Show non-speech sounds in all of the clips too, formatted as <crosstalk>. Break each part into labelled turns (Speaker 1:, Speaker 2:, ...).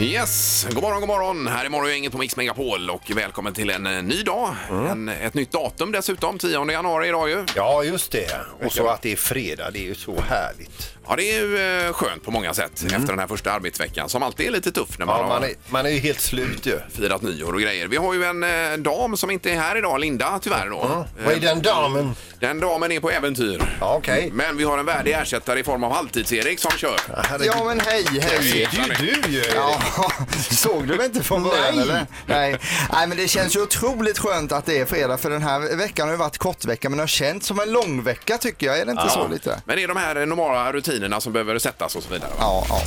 Speaker 1: Yes, god morgon, god morgon. Här är morgongänget på Mix Megapol och välkommen till en eh, ny dag.
Speaker 2: Mm.
Speaker 1: En, ett nytt datum dessutom, 10 januari idag ju.
Speaker 2: Ja, just det. Och så att det är fredag, det är ju så härligt.
Speaker 1: Ja, det är ju eh, skönt på många sätt efter den här första arbetsveckan som alltid är lite tuff när man,
Speaker 2: Mm. Ja,
Speaker 1: har
Speaker 2: man, är, man är ju helt slut ju.
Speaker 1: firat nyår och grejer. Vi har ju en eh, dam som inte är här idag, Linda tyvärr då. Eh,
Speaker 2: Vad är den damen?
Speaker 1: Den damen Mm. är på äventyr.
Speaker 2: Ja, okej.
Speaker 1: Men vi har en värdig ersättare i form av halvtids-Erik som kör.
Speaker 2: Herregud.
Speaker 3: Ja men hej, hej!
Speaker 2: Det är ju du ju.
Speaker 3: Ja, <laughs> såg du mig inte från början
Speaker 2: Nej.
Speaker 3: eller? Nej. Nej, men det känns ju otroligt skönt att det är fredag för den här veckan har ju varit kort vecka men det har känts som en lång vecka tycker jag, är det inte så lite?
Speaker 1: Men det är de här eh, normala rutinerna som behöver sättas och så vidare. va?
Speaker 3: Ja, ja.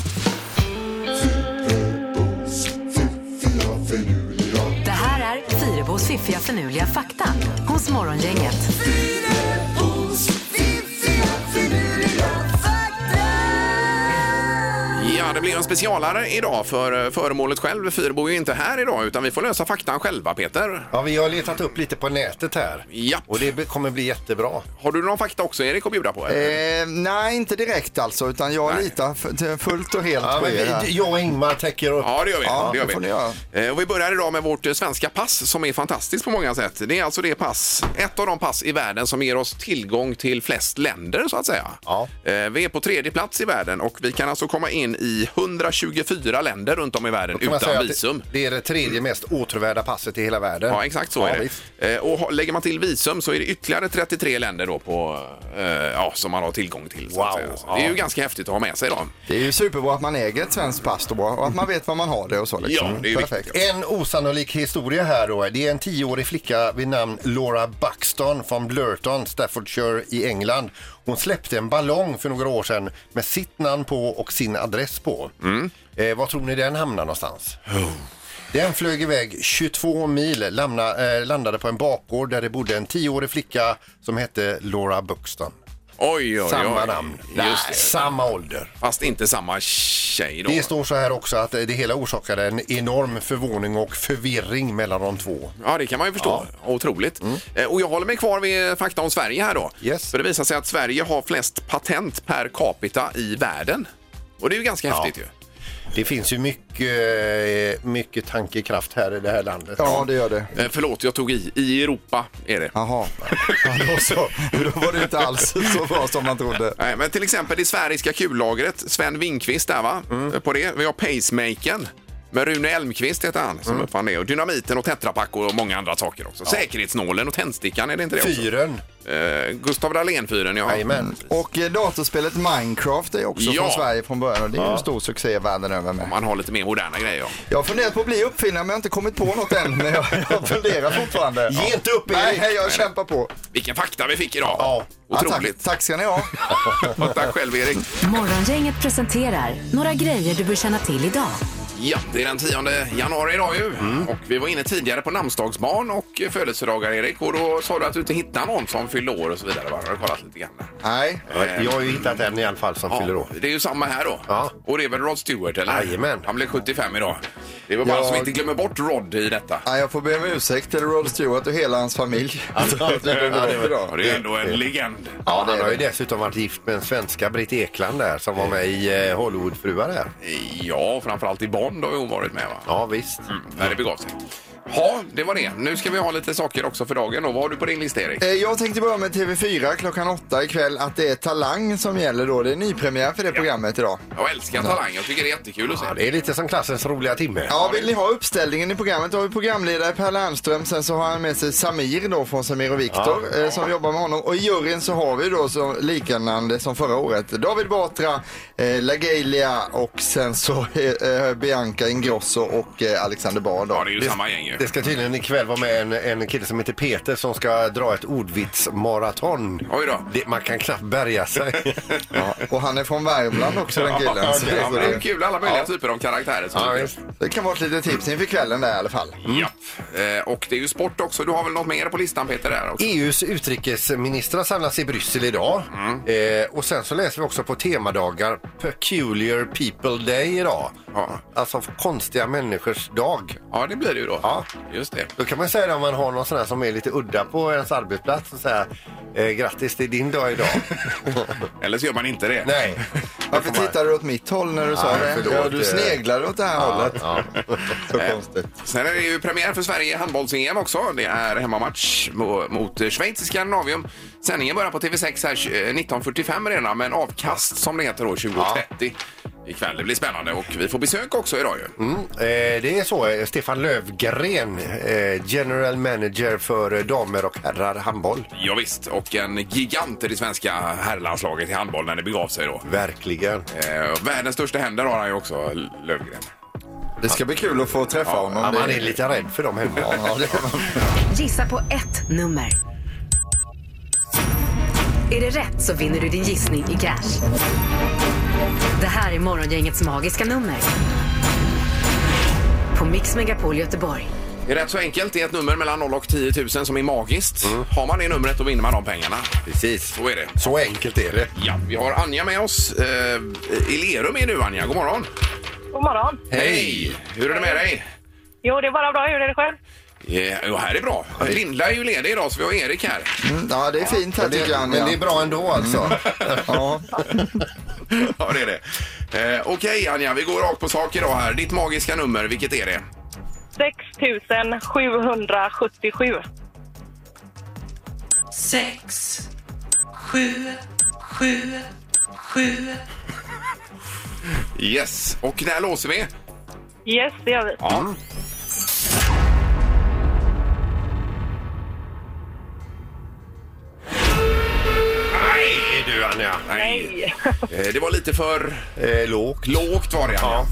Speaker 4: Det här är Fyrabos fiffiga förnuliga fakta hos Morgongänget.
Speaker 1: Ja, det blir en specialare idag för eh, föremålet själv. Fyrbo är ju inte här idag utan vi får lösa faktan själva Peter.
Speaker 2: Ja, vi har letat upp lite på nätet här.
Speaker 1: Ja.
Speaker 2: Och det be- kommer bli jättebra.
Speaker 1: Har du någon fakta också Erik att bjuda på? eller?
Speaker 3: Eh, nej, inte direkt alltså utan jag
Speaker 1: Nej.
Speaker 3: litar f- till fullt och helt
Speaker 2: Ja,
Speaker 3: på
Speaker 2: men
Speaker 3: er.
Speaker 2: vi,
Speaker 3: här.
Speaker 2: jag och Ingmar täcker upp.
Speaker 1: Ja, det gör vi.
Speaker 3: Ja,
Speaker 1: det gör
Speaker 3: det får
Speaker 1: vi.
Speaker 3: ni göra.
Speaker 1: Eh, Och vi börjar idag med vårt eh, svenska pass som är fantastiskt på många sätt. Det är alltså det pass, ett av de pass i världen som ger oss tillgång till flest länder så att säga.
Speaker 2: Ja.
Speaker 1: Eh, Vi är på tredje plats i världen och vi kan alltså komma in i 124 länder runt om i världen
Speaker 2: Kan man säga
Speaker 1: utan
Speaker 2: att
Speaker 1: visum.
Speaker 2: Det, det är det tredje mest återvärda passet i hela världen.
Speaker 1: Ja, exakt så
Speaker 2: Ja,
Speaker 1: är
Speaker 2: visst.
Speaker 1: det. Eh, Och ha- lägger man till visum så är det ytterligare 33 länder då på, eh, ja, som man har tillgång till. Så att
Speaker 2: Wow,
Speaker 1: säga. Så Det är
Speaker 2: ja.
Speaker 1: ju ganska häftigt att ha med sig då.
Speaker 3: Det är ju superbra att man äger ett svenskt pass då och att man vet vad man har det och så liksom.
Speaker 1: Ja, det är ju
Speaker 3: Perfekt.
Speaker 2: En osannolik historia här då. Det är en tioårig flicka vid namn Laura Buxton från Blurton, Staffordshire i England. Hon släppte en ballong för några år sedan med sitt namn på och sin adress på.
Speaker 1: Mm.
Speaker 2: Eh, vad tror ni den hamnar någonstans? Den flög iväg 22 mil, lamna, eh, landade på en bakgård där det bodde en tioårig flicka som hette Laura Buxton.
Speaker 1: Oj, oj, oj.
Speaker 2: Samma namn,
Speaker 1: Just det.
Speaker 2: samma ålder.
Speaker 1: Fast inte samma tjej då.
Speaker 2: Det står så här också att eh, det hela orsakade en enorm förvåning och förvirring mellan de två.
Speaker 1: Ja, det kan man ju förstå. Otroligt. Eh, Och jag håller mig kvar vid fakta om Sverige här då.
Speaker 2: Mm. Yes.
Speaker 1: För det visar sig att Sverige har flest patent per capita i världen. Och det är ju ganska häftigt ju.
Speaker 2: Det finns ju mycket, eh, mycket tankekraft här i det här landet.
Speaker 3: Ja, det gör det.
Speaker 1: Eh, Förlåt, jag tog i. I Europa är det.
Speaker 3: Jaha, ja, då så. Då var det inte alls så bra som man trodde.
Speaker 1: Nej, men till exempel det sfäriska kullagret, Sven Winkvist där va? Eh, På det. Vi har pacemakern. Med Rune Elmqvist heter han som uppfann det. Och dynamiten och tetrapack och många andra saker också. Säkerhetsnålen och tändstickan, är det inte det också?
Speaker 2: Fyren,
Speaker 1: Eh, Gustav Dahlén-fyren, ja.
Speaker 2: jajamän.
Speaker 3: Och eh, datorspelet Minecraft är också
Speaker 1: Ja.
Speaker 3: från Sverige från början och det är ju en stor succé världen över med.
Speaker 1: Man har lite mer moderna grejer. Ja.
Speaker 3: Jag har funderat på att bli uppfinnare men jag har inte kommit på något än. Men jag, jag funderar fortfarande.
Speaker 2: Ge inte upp,
Speaker 3: Nej,
Speaker 2: Erik.
Speaker 3: jag kämpar på.
Speaker 1: Vilken fakta vi fick idag!
Speaker 2: Ja.
Speaker 3: Ja,
Speaker 1: Otroligt!
Speaker 3: tack, <laughs> tack ska ni ha.
Speaker 1: tack. själv Erik!
Speaker 4: Morgongänget presenterar några grejer du bör känna till idag.
Speaker 1: Ja, det är den 10 januari idag ju. Och vi var inne tidigare på namnsdagsbarn och eh, födelsedagar Erik. Och då sa du att du inte hittar någon som fyllde år och så vidare. va? Har du kollat lite grann?
Speaker 3: Nej.
Speaker 2: Jag har ju hittat en i alla fall som fyller år.
Speaker 1: det är ju samma här då.
Speaker 2: Ja.
Speaker 1: Och det är väl Rod Stewart eller?
Speaker 2: Jajamän.
Speaker 1: Han blev 75 idag. Det var bara
Speaker 3: Ja.
Speaker 1: så vi inte glömmer bort Rod i detta.
Speaker 3: Nej, jag får be om ursäkt till Rod Stewart och hela hans familj. <laughs>
Speaker 1: Ja, det är ändå en legend.
Speaker 2: Ja, han har ju dessutom varit gift med en svenska Britt Ekland där som var med i eh, Hollywoodfruar där.
Speaker 1: Ja, framförallt i Bond har ju hon varit med va? Mm,
Speaker 2: Ja, visst.
Speaker 1: När det begav sig. Ja, det var det. Nu ska vi ha lite saker också för dagen då. Vad har du på din lista Erik?
Speaker 3: Eh, Jag tänkte börja med TV4 klockan åtta ikväll att det är Talang som gäller då. Det är nypremiär för det programmet idag.
Speaker 1: Jag älskar Talang. Jag tycker det är jättekul att se.
Speaker 2: Ja, det är lite som klassens roliga timme.
Speaker 3: Ja, vill ni ha uppställningen i programmet då har vi programledare Per Lernström, sen så har han med sig Samir då från Samir och Viktor eh, som jobbar med honom. Och i juryn så har vi då så liknande som förra året David Batra, eh, Lagelia och sen så eh, eh, Bianca Ingrosso och eh, Alexander Bard
Speaker 1: Ja,
Speaker 3: då.
Speaker 1: det är ju samma gäng ju.
Speaker 2: Det ska tydligen ikväll vara med en, en kille som heter Peter som ska dra ett ordvitsmaraton.
Speaker 1: Oj då.
Speaker 2: Det, man kan knappt bärga sig.
Speaker 3: Ja, och han är från Värmland också den killen. Så
Speaker 1: Ja, men
Speaker 3: det,
Speaker 1: det är kul, alla möjliga typer av karaktärer. Som dyker upp.
Speaker 3: det kan vara ett litet tips inför kvällen där i alla fall.
Speaker 1: ja. Eh, Och det är ju sport också. Du har väl något mer på listan Peter? Där också?
Speaker 2: EUs utrikesministrar samlas i Bryssel idag.
Speaker 3: Mm.
Speaker 2: Eh, och sen så läser vi också på temadagar Peculiar People Day idag.
Speaker 1: Ja.
Speaker 2: Alltså konstiga människors dag.
Speaker 1: Ja, det blir det ju då.
Speaker 2: Ja.
Speaker 1: Just det.
Speaker 2: Då kan man säga det om man har någon sån här som är lite udda på ens
Speaker 3: <laughs>
Speaker 2: arbetsplats och säga eh, grattis det är din dag idag.
Speaker 1: Eller så gör man inte det.
Speaker 2: Nej.
Speaker 3: Varför tittade du åt mitt håll när du sa
Speaker 2: Nej,
Speaker 3: det?
Speaker 2: förlåt.
Speaker 3: ja, du sneglade åt det här hållet.
Speaker 2: Ja.
Speaker 3: <laughs> Så konstigt.
Speaker 1: Sen är det ju premiär för Sverige i handbolls-EM också. Det är hemmamatch mo- mot eh, Schweiz i Skandinavium. Sändningen börjar på TV6 här eh, 19.45 redan med en avkast som det heter då 20.30 ikväll. Det blir spännande och vi får besök också idag ju.
Speaker 2: Eh, Det är så. eh, Stefan Lövgren, eh, general manager för eh, damer och herrar handboll.
Speaker 1: Ja, visst. och en gigant i det svenska herrlandslaget i handboll när det begav sig då.
Speaker 2: Verkligen.
Speaker 1: Eh, världens största händer har han ju också, Lövgren.
Speaker 3: Det ska bli kul att få träffa
Speaker 1: Ja,
Speaker 2: Ja,
Speaker 3: honom.
Speaker 2: man
Speaker 3: Det-
Speaker 2: är lite rädd för dem hemma.
Speaker 3: Ja, det är man.
Speaker 4: Gissa på ett nummer. Är det rätt så vinner du din gissning i cash. Det här är Morgongängets magiska nummer. På Mix Megapol Göteborg.
Speaker 1: Det är rätt så enkelt. Det är ett nummer mellan 0 och 10 000 som är magiskt. Har man det numret då vinner man de pengarna.
Speaker 2: Precis.
Speaker 1: Så är det.
Speaker 2: Så enkelt är det.
Speaker 1: Ja, vi har Anja med oss. Eh, I Lerum är du Anja, god morgon.
Speaker 5: God morgon.
Speaker 1: Hej! Hur är det med dig?
Speaker 5: Jo, det är bara bra. Hur är det själv?
Speaker 1: Eh, Jo, här är bra. Linda är ju ledig idag så vi har Erik här.
Speaker 3: Mm, ja, det är fint här
Speaker 2: Men
Speaker 3: tycker jag.
Speaker 2: det, men det är
Speaker 3: Anja.
Speaker 2: bra ändå alltså.
Speaker 1: Mm.
Speaker 3: Ja.
Speaker 1: <laughs> Ja, det är det. Eh, Okej Anja, vi går rakt på sak idag här. Ditt magiska nummer, vilket är det?
Speaker 5: 6 777.
Speaker 6: sex, sju, sju, sju.
Speaker 1: Yes. Och när låser vi?
Speaker 5: Yes, det gör vi.
Speaker 1: Ja.
Speaker 2: Är du Anja?
Speaker 1: Nej.
Speaker 5: Nej.
Speaker 1: Eh, Det var lite för
Speaker 2: <laughs> Eh, lågt.
Speaker 1: lågt var det Anja.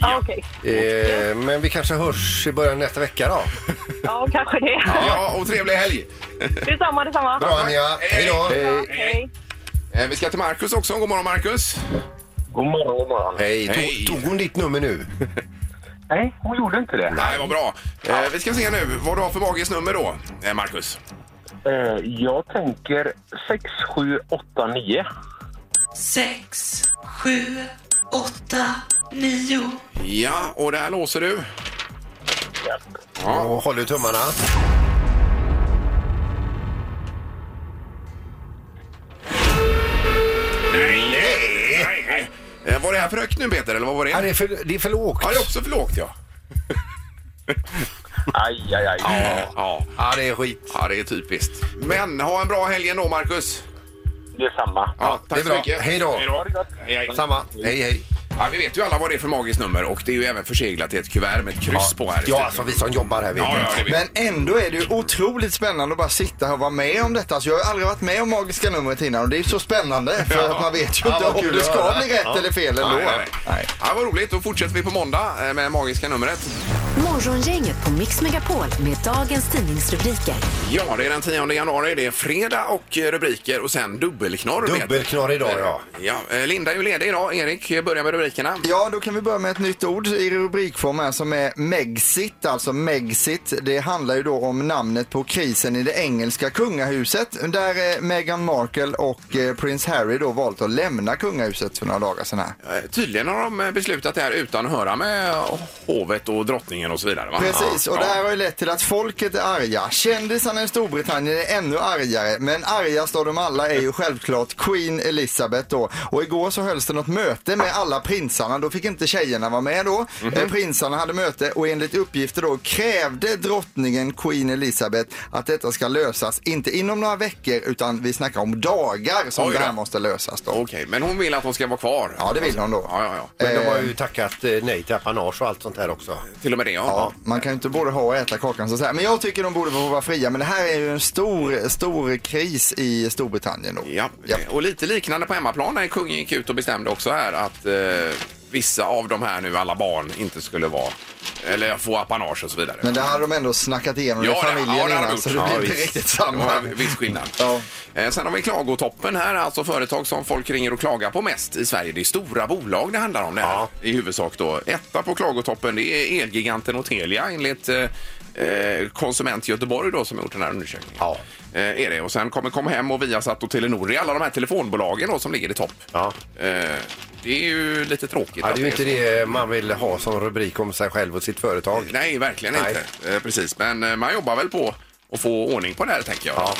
Speaker 5: Ja, okej.
Speaker 2: Eh, men vi kanske hörs i början nästa vecka då.
Speaker 5: Ja, kanske det.
Speaker 1: Ja, och trevlig helg!
Speaker 5: Detsamma, detsamma.
Speaker 2: Bra Anja, hej då!
Speaker 5: Ja, Hej.
Speaker 1: Eh, Vi ska till Marcus också. God morgon Marcus!
Speaker 7: God morgon, god morgon.
Speaker 2: Hej,
Speaker 1: Hej.
Speaker 2: tog, tog hon ditt nummer nu?
Speaker 7: Nej, hon gjorde inte det.
Speaker 1: Nej, vad bra. Eh, Vi ska se nu vad du har för magiskt nummer då, eh, Marcus.
Speaker 7: Eh, jag tänker 6, 7, 8, 9.
Speaker 6: Sex, sju, åtta, nio.
Speaker 1: Ja, och där låser du. Ja.
Speaker 2: Och håller tummarna.
Speaker 1: Nej! Eh, Var det här för högt nu Peter, eller vad var det?
Speaker 2: Ja, det, är för, det är för lågt.
Speaker 1: Ja, det är också för lågt ja.
Speaker 7: Aj, aj, aj.
Speaker 1: Ja,
Speaker 2: Ja, det är skit.
Speaker 1: ja det är typiskt. Men ha en bra helg ändå Marcus.
Speaker 7: Det är samma.
Speaker 1: Ja, tack
Speaker 2: det är
Speaker 1: så
Speaker 2: bra.
Speaker 1: mycket.
Speaker 2: Hej då.
Speaker 7: Ha det gott.
Speaker 1: Hej, hej.
Speaker 2: Samma. Hej, hej.
Speaker 1: Ja, vi vet ju alla vad det är för magiskt nummer och det är ju även förseglat i ett kuvert med ett kryss på här. i
Speaker 2: Ja,
Speaker 1: studion.
Speaker 2: alltså vi som jobbar här vet
Speaker 1: ja,
Speaker 2: du.
Speaker 1: ja, det vet.
Speaker 3: Men ändå är det ju otroligt spännande att bara sitta här och vara med om detta. Alltså, jag har ju aldrig varit med om magiska numret innan och det är ju så spännande för
Speaker 1: Ja.
Speaker 3: att man vet ju
Speaker 2: Ja,
Speaker 3: inte
Speaker 2: vad
Speaker 3: om
Speaker 2: kul
Speaker 3: det
Speaker 2: att
Speaker 3: ska
Speaker 2: höra.
Speaker 3: bli rätt eller fel ändå.
Speaker 1: Nej, nej, nej. Ja, vad roligt, då fortsätter vi på måndag eh, med magiska numret.
Speaker 4: Morgongänget på Mix Megapol med dagens tidningsrubriker.
Speaker 1: Ja, det är den 10 januari, det är fredag och eh, rubriker och sen dubbelknorr. Peter.
Speaker 2: Dubbelknorr idag, ja.
Speaker 1: ja. eh, Linda är ju ledig idag. Erik, eh, börja med rubrikerna.
Speaker 3: Ja, då kan vi börja med ett nytt ord i rubrikform här som är Megxit, alltså Megxit. Det handlar ju då om namnet på krisen i det engelska kungahuset där eh, Meghan Markle och eh, prins Harry då valt att lämna kungahuset för några dagar sedan här.
Speaker 1: Eh, Tydligen har de eh, beslutat det här utan att höra med eh, hovet och drottningen och så vidare. Va?
Speaker 3: Precis, och det här har ju lett till att folket är arga. Kändisarna i Storbritannien är ännu argare, men argast av dem alla är ju självklart Queen Elizabeth då. Och igår så hölls det något möte med alla prinsarna, då fick inte tjejerna vara med då.
Speaker 1: Mhm.
Speaker 3: Eh, Prinsarna hade möte och enligt uppgifter då krävde drottningen Queen Elizabeth att detta ska lösas, inte inom några veckor utan vi snackar om dagar som
Speaker 1: Oj då.
Speaker 3: det här måste lösas då.
Speaker 1: Okej, men hon vill att hon ska vara kvar.
Speaker 3: Ja, det vill hon då.
Speaker 1: Ja, ja, ja.
Speaker 2: Men de har ju tackat eh, nej till apanage och allt sånt här också.
Speaker 1: Till och med det, ja.
Speaker 3: Ja, man kan ju inte både ha och äta kakan så att säga. Men jag tycker de borde få vara fria. Men det här är ju en stor, stor kris i Storbritannien då.
Speaker 1: Ja, eh, och lite liknande på hemmaplan när kungen gick ut och bestämde också här att eh, vissa av de här nu, alla barn, inte skulle vara eller få apanage och så vidare.
Speaker 3: Men det hade de ändå snackat igenom i
Speaker 1: Ja, det-
Speaker 3: familjen
Speaker 1: ja, det har de
Speaker 3: innan
Speaker 1: gjort.
Speaker 3: så det
Speaker 1: Ja,
Speaker 3: blir inte
Speaker 1: visst.
Speaker 3: riktigt
Speaker 1: det
Speaker 3: samma.
Speaker 1: var en viss skillnad.
Speaker 3: Ja.
Speaker 1: Eh, Sen har vi klagotoppen här, alltså företag som folk ringer och klagar på mest i Sverige. Det är stora bolag det handlar om det här,
Speaker 2: Ja.
Speaker 1: i huvudsak då. Etta på klagotoppen det är Elgiganten och Telia enligt eh, eh, Konsument Göteborg då som har gjort den här undersökningen.
Speaker 2: Ja.
Speaker 1: Eh, är det. Och sen kommer Comhem och Viasat och Telenor. Det är alla de här telefonbolagen då som ligger i topp.
Speaker 2: Ja.
Speaker 1: Eh, det är ju lite tråkigt.
Speaker 2: Ja,
Speaker 1: att
Speaker 2: det är ju inte
Speaker 1: så.
Speaker 2: det man vill ha som rubrik om sig själv och sitt företag.
Speaker 1: Nej, verkligen
Speaker 2: Nej.
Speaker 1: inte. Eh, precis, men eh, man jobbar väl på att få ordning på det här tänker jag. Eh,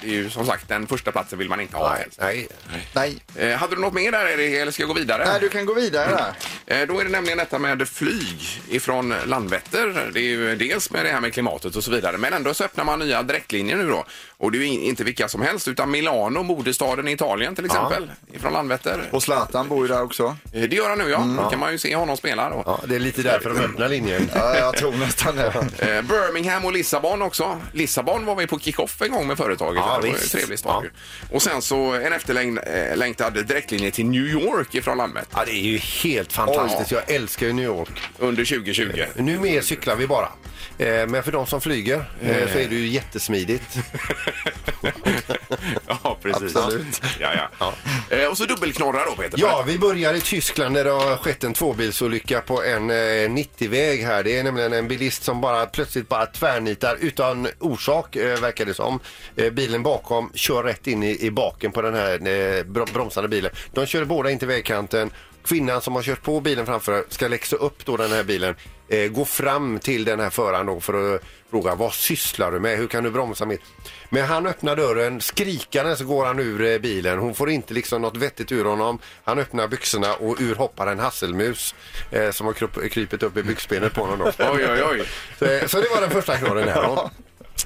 Speaker 1: det är ju som sagt den första platsen vill man inte ha.
Speaker 2: Nej, nej.
Speaker 3: Nej.
Speaker 1: Eh, hade du något mer där Erik, eller ska jag gå vidare?
Speaker 3: Nej, du kan gå vidare där.
Speaker 1: Eh, Då är det nämligen detta med flyg ifrån Landvetter. Det är ju dels med det här med klimatet och så vidare. Men ändå så öppnar man nya direktlinjer nu då. Och det är ju in- inte vilka som helst utan Milano, modestaden i Italien till exempel. Ifrån Landvetter.
Speaker 3: Och Zlatan bor ju där också.
Speaker 1: Eh, Det gör han nu ja. Då kan man ju se honom spela då.
Speaker 2: Ja, det är lite därför de öppnar linjen.
Speaker 3: Ja, jag tror
Speaker 1: <laughs>
Speaker 3: nästan det.
Speaker 1: Eh, Birmingham och Lissabon också. Lissabon var vi på kick-off en gång med företaget.
Speaker 2: Ja,
Speaker 1: det var ju
Speaker 2: visst.
Speaker 1: trevligt stad ju. Och sen så en efterlängtad direktlinje till New York ifrån Landvetter
Speaker 2: Ja, det är ju helt fantastiskt. Jag älskar ju New York.
Speaker 1: under 2020.
Speaker 2: Numer cyklar vi bara. Eh, Men för de som flyger eh, så är det ju jättesmidigt.
Speaker 1: ja, precis.
Speaker 3: Absolut.
Speaker 1: Ja, ja. Eh, Och så dubbelknorrar då, Peter.
Speaker 2: Ja, vi börjar i Tyskland där det har skett en tvåbilsolycka på en eh, 90-väg här. Det är nämligen en bilist som bara plötsligt bara tvärnitar utan orsak, eh, verkar det som. Eh, bilen bakom kör rätt in i, i baken på den här eh, bro- bromsande bilen. De kör båda in till vägkanten. Kvinnan som har kört på bilen framför ska läxa upp då den här bilen. Eh, gå fram till den här föraren då för att fråga vad sysslar du med? Hur kan du bromsa mitt? Men han öppnar dörren, skrikande så går han ur eh, bilen. Hon får inte liksom något vettigt ur honom. Han öppnar byxorna och ur hoppar en hasselmus eh, som har krup- krypit upp i byxbenet på honom. Då.
Speaker 1: Oj, oj, oj.
Speaker 2: Så, eh, så det var den första knorren här. då.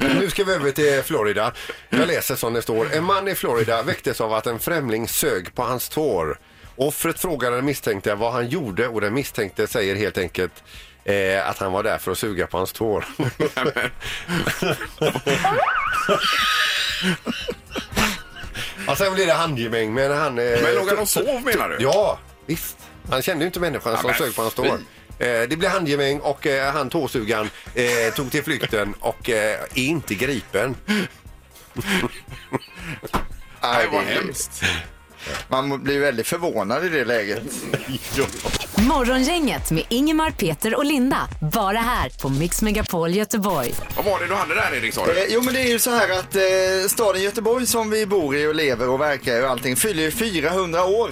Speaker 2: Nu ska vi över till Florida. Jag läser som det står. En man i Florida väcktes av att en främling sög på hans tår. Offret frågade den misstänkte vad han gjorde och den misstänkte säger helt enkelt eh, att han var där för att suga på hans tår. och sen blir det handgemäng. Men, han, eh,
Speaker 1: Men låg han och sov, menar du?
Speaker 2: Ja, visst. Han kände ju inte människan
Speaker 1: Ja,
Speaker 2: som
Speaker 1: men
Speaker 2: sög på hans tår. Eh, Det blev handgemäng och eh, han tåsugan eh, tog till flykten och eh, är inte gripen.
Speaker 1: Nej, vad
Speaker 3: det är-
Speaker 1: hemskt.
Speaker 3: Man blir väldigt förvånad i det läget.
Speaker 4: Morgongänget med Ingemar, Peter och Linda. Bara här på Mix Megapol Göteborg.
Speaker 1: Vad var det du hade där, Erik? Sa
Speaker 3: Eh,
Speaker 1: du?
Speaker 3: jo men det är ju så här att eh, staden Göteborg som vi bor i och lever och verkar i och allting fyller ju 400 år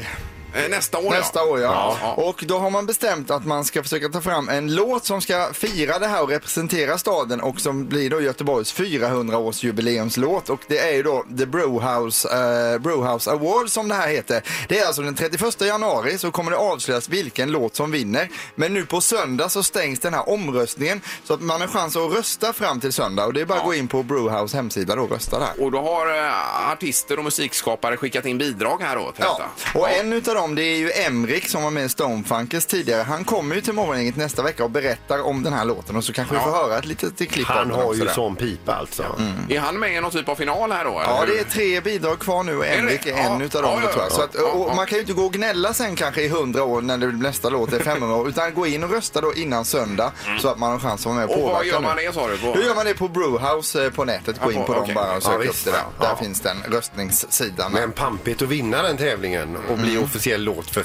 Speaker 1: Eh, Nästa år,
Speaker 3: nästa år. Ja.
Speaker 1: ja. ja.
Speaker 3: Och då har man bestämt att man ska försöka ta fram en låt som ska fira det här och representera staden och som blir då Göteborgs 400-årsjubileumslåt. Och det är ju då The Brewhouse, eh, Brewhouse Award som det här heter. Det är alltså den 31 januari så kommer det avslöjas vilken låt som vinner. Men nu på söndag så stängs den här omröstningen så att man har chans att rösta fram till söndag. Och det är bara att gå in på Brewhouse hemsida då och rösta där.
Speaker 1: Och då har eh, artister och musikskapare skickat in bidrag här då till
Speaker 3: Ja,
Speaker 1: detta.
Speaker 3: och en utav dem det är ju Emrik som var med i Stonefunkers tidigare. Han kommer ju till morgongänget nästa vecka och berättar om den här låten och så kanske vi får höra ett litet klipp av
Speaker 2: Han
Speaker 3: den
Speaker 2: har
Speaker 3: också
Speaker 2: ju
Speaker 3: där.
Speaker 2: sån pipa alltså.
Speaker 1: Är han med i någon typ av final här då? eller
Speaker 3: Ja,
Speaker 1: hur?
Speaker 3: det är tre bidrag kvar nu och Emrik är
Speaker 1: det? Ja.
Speaker 3: en utav dem
Speaker 1: Ja, ja,
Speaker 3: tror jag. Så
Speaker 1: ja.
Speaker 3: att,
Speaker 1: Ja, ja.
Speaker 3: och man kan ju inte gå och gnälla sen kanske i 100 år när det blir nästa låt är 500 år utan gå in och rösta då innan söndag så att man har chans att vara med och
Speaker 1: Mm. Och
Speaker 3: påverka
Speaker 1: vad gör
Speaker 3: nu.
Speaker 1: man det, sa du? På?
Speaker 3: Hur gör man det på Brewhouse eh, på nätet? Gå
Speaker 1: Ja,
Speaker 3: in på
Speaker 1: okej.
Speaker 3: dem bara och
Speaker 2: Ja,
Speaker 3: sök upp
Speaker 2: visst.
Speaker 3: det där.
Speaker 2: Ja.
Speaker 3: Där finns den röstningssidan.
Speaker 2: Men pampigt att vinna den tävlingen och bli officiell låt för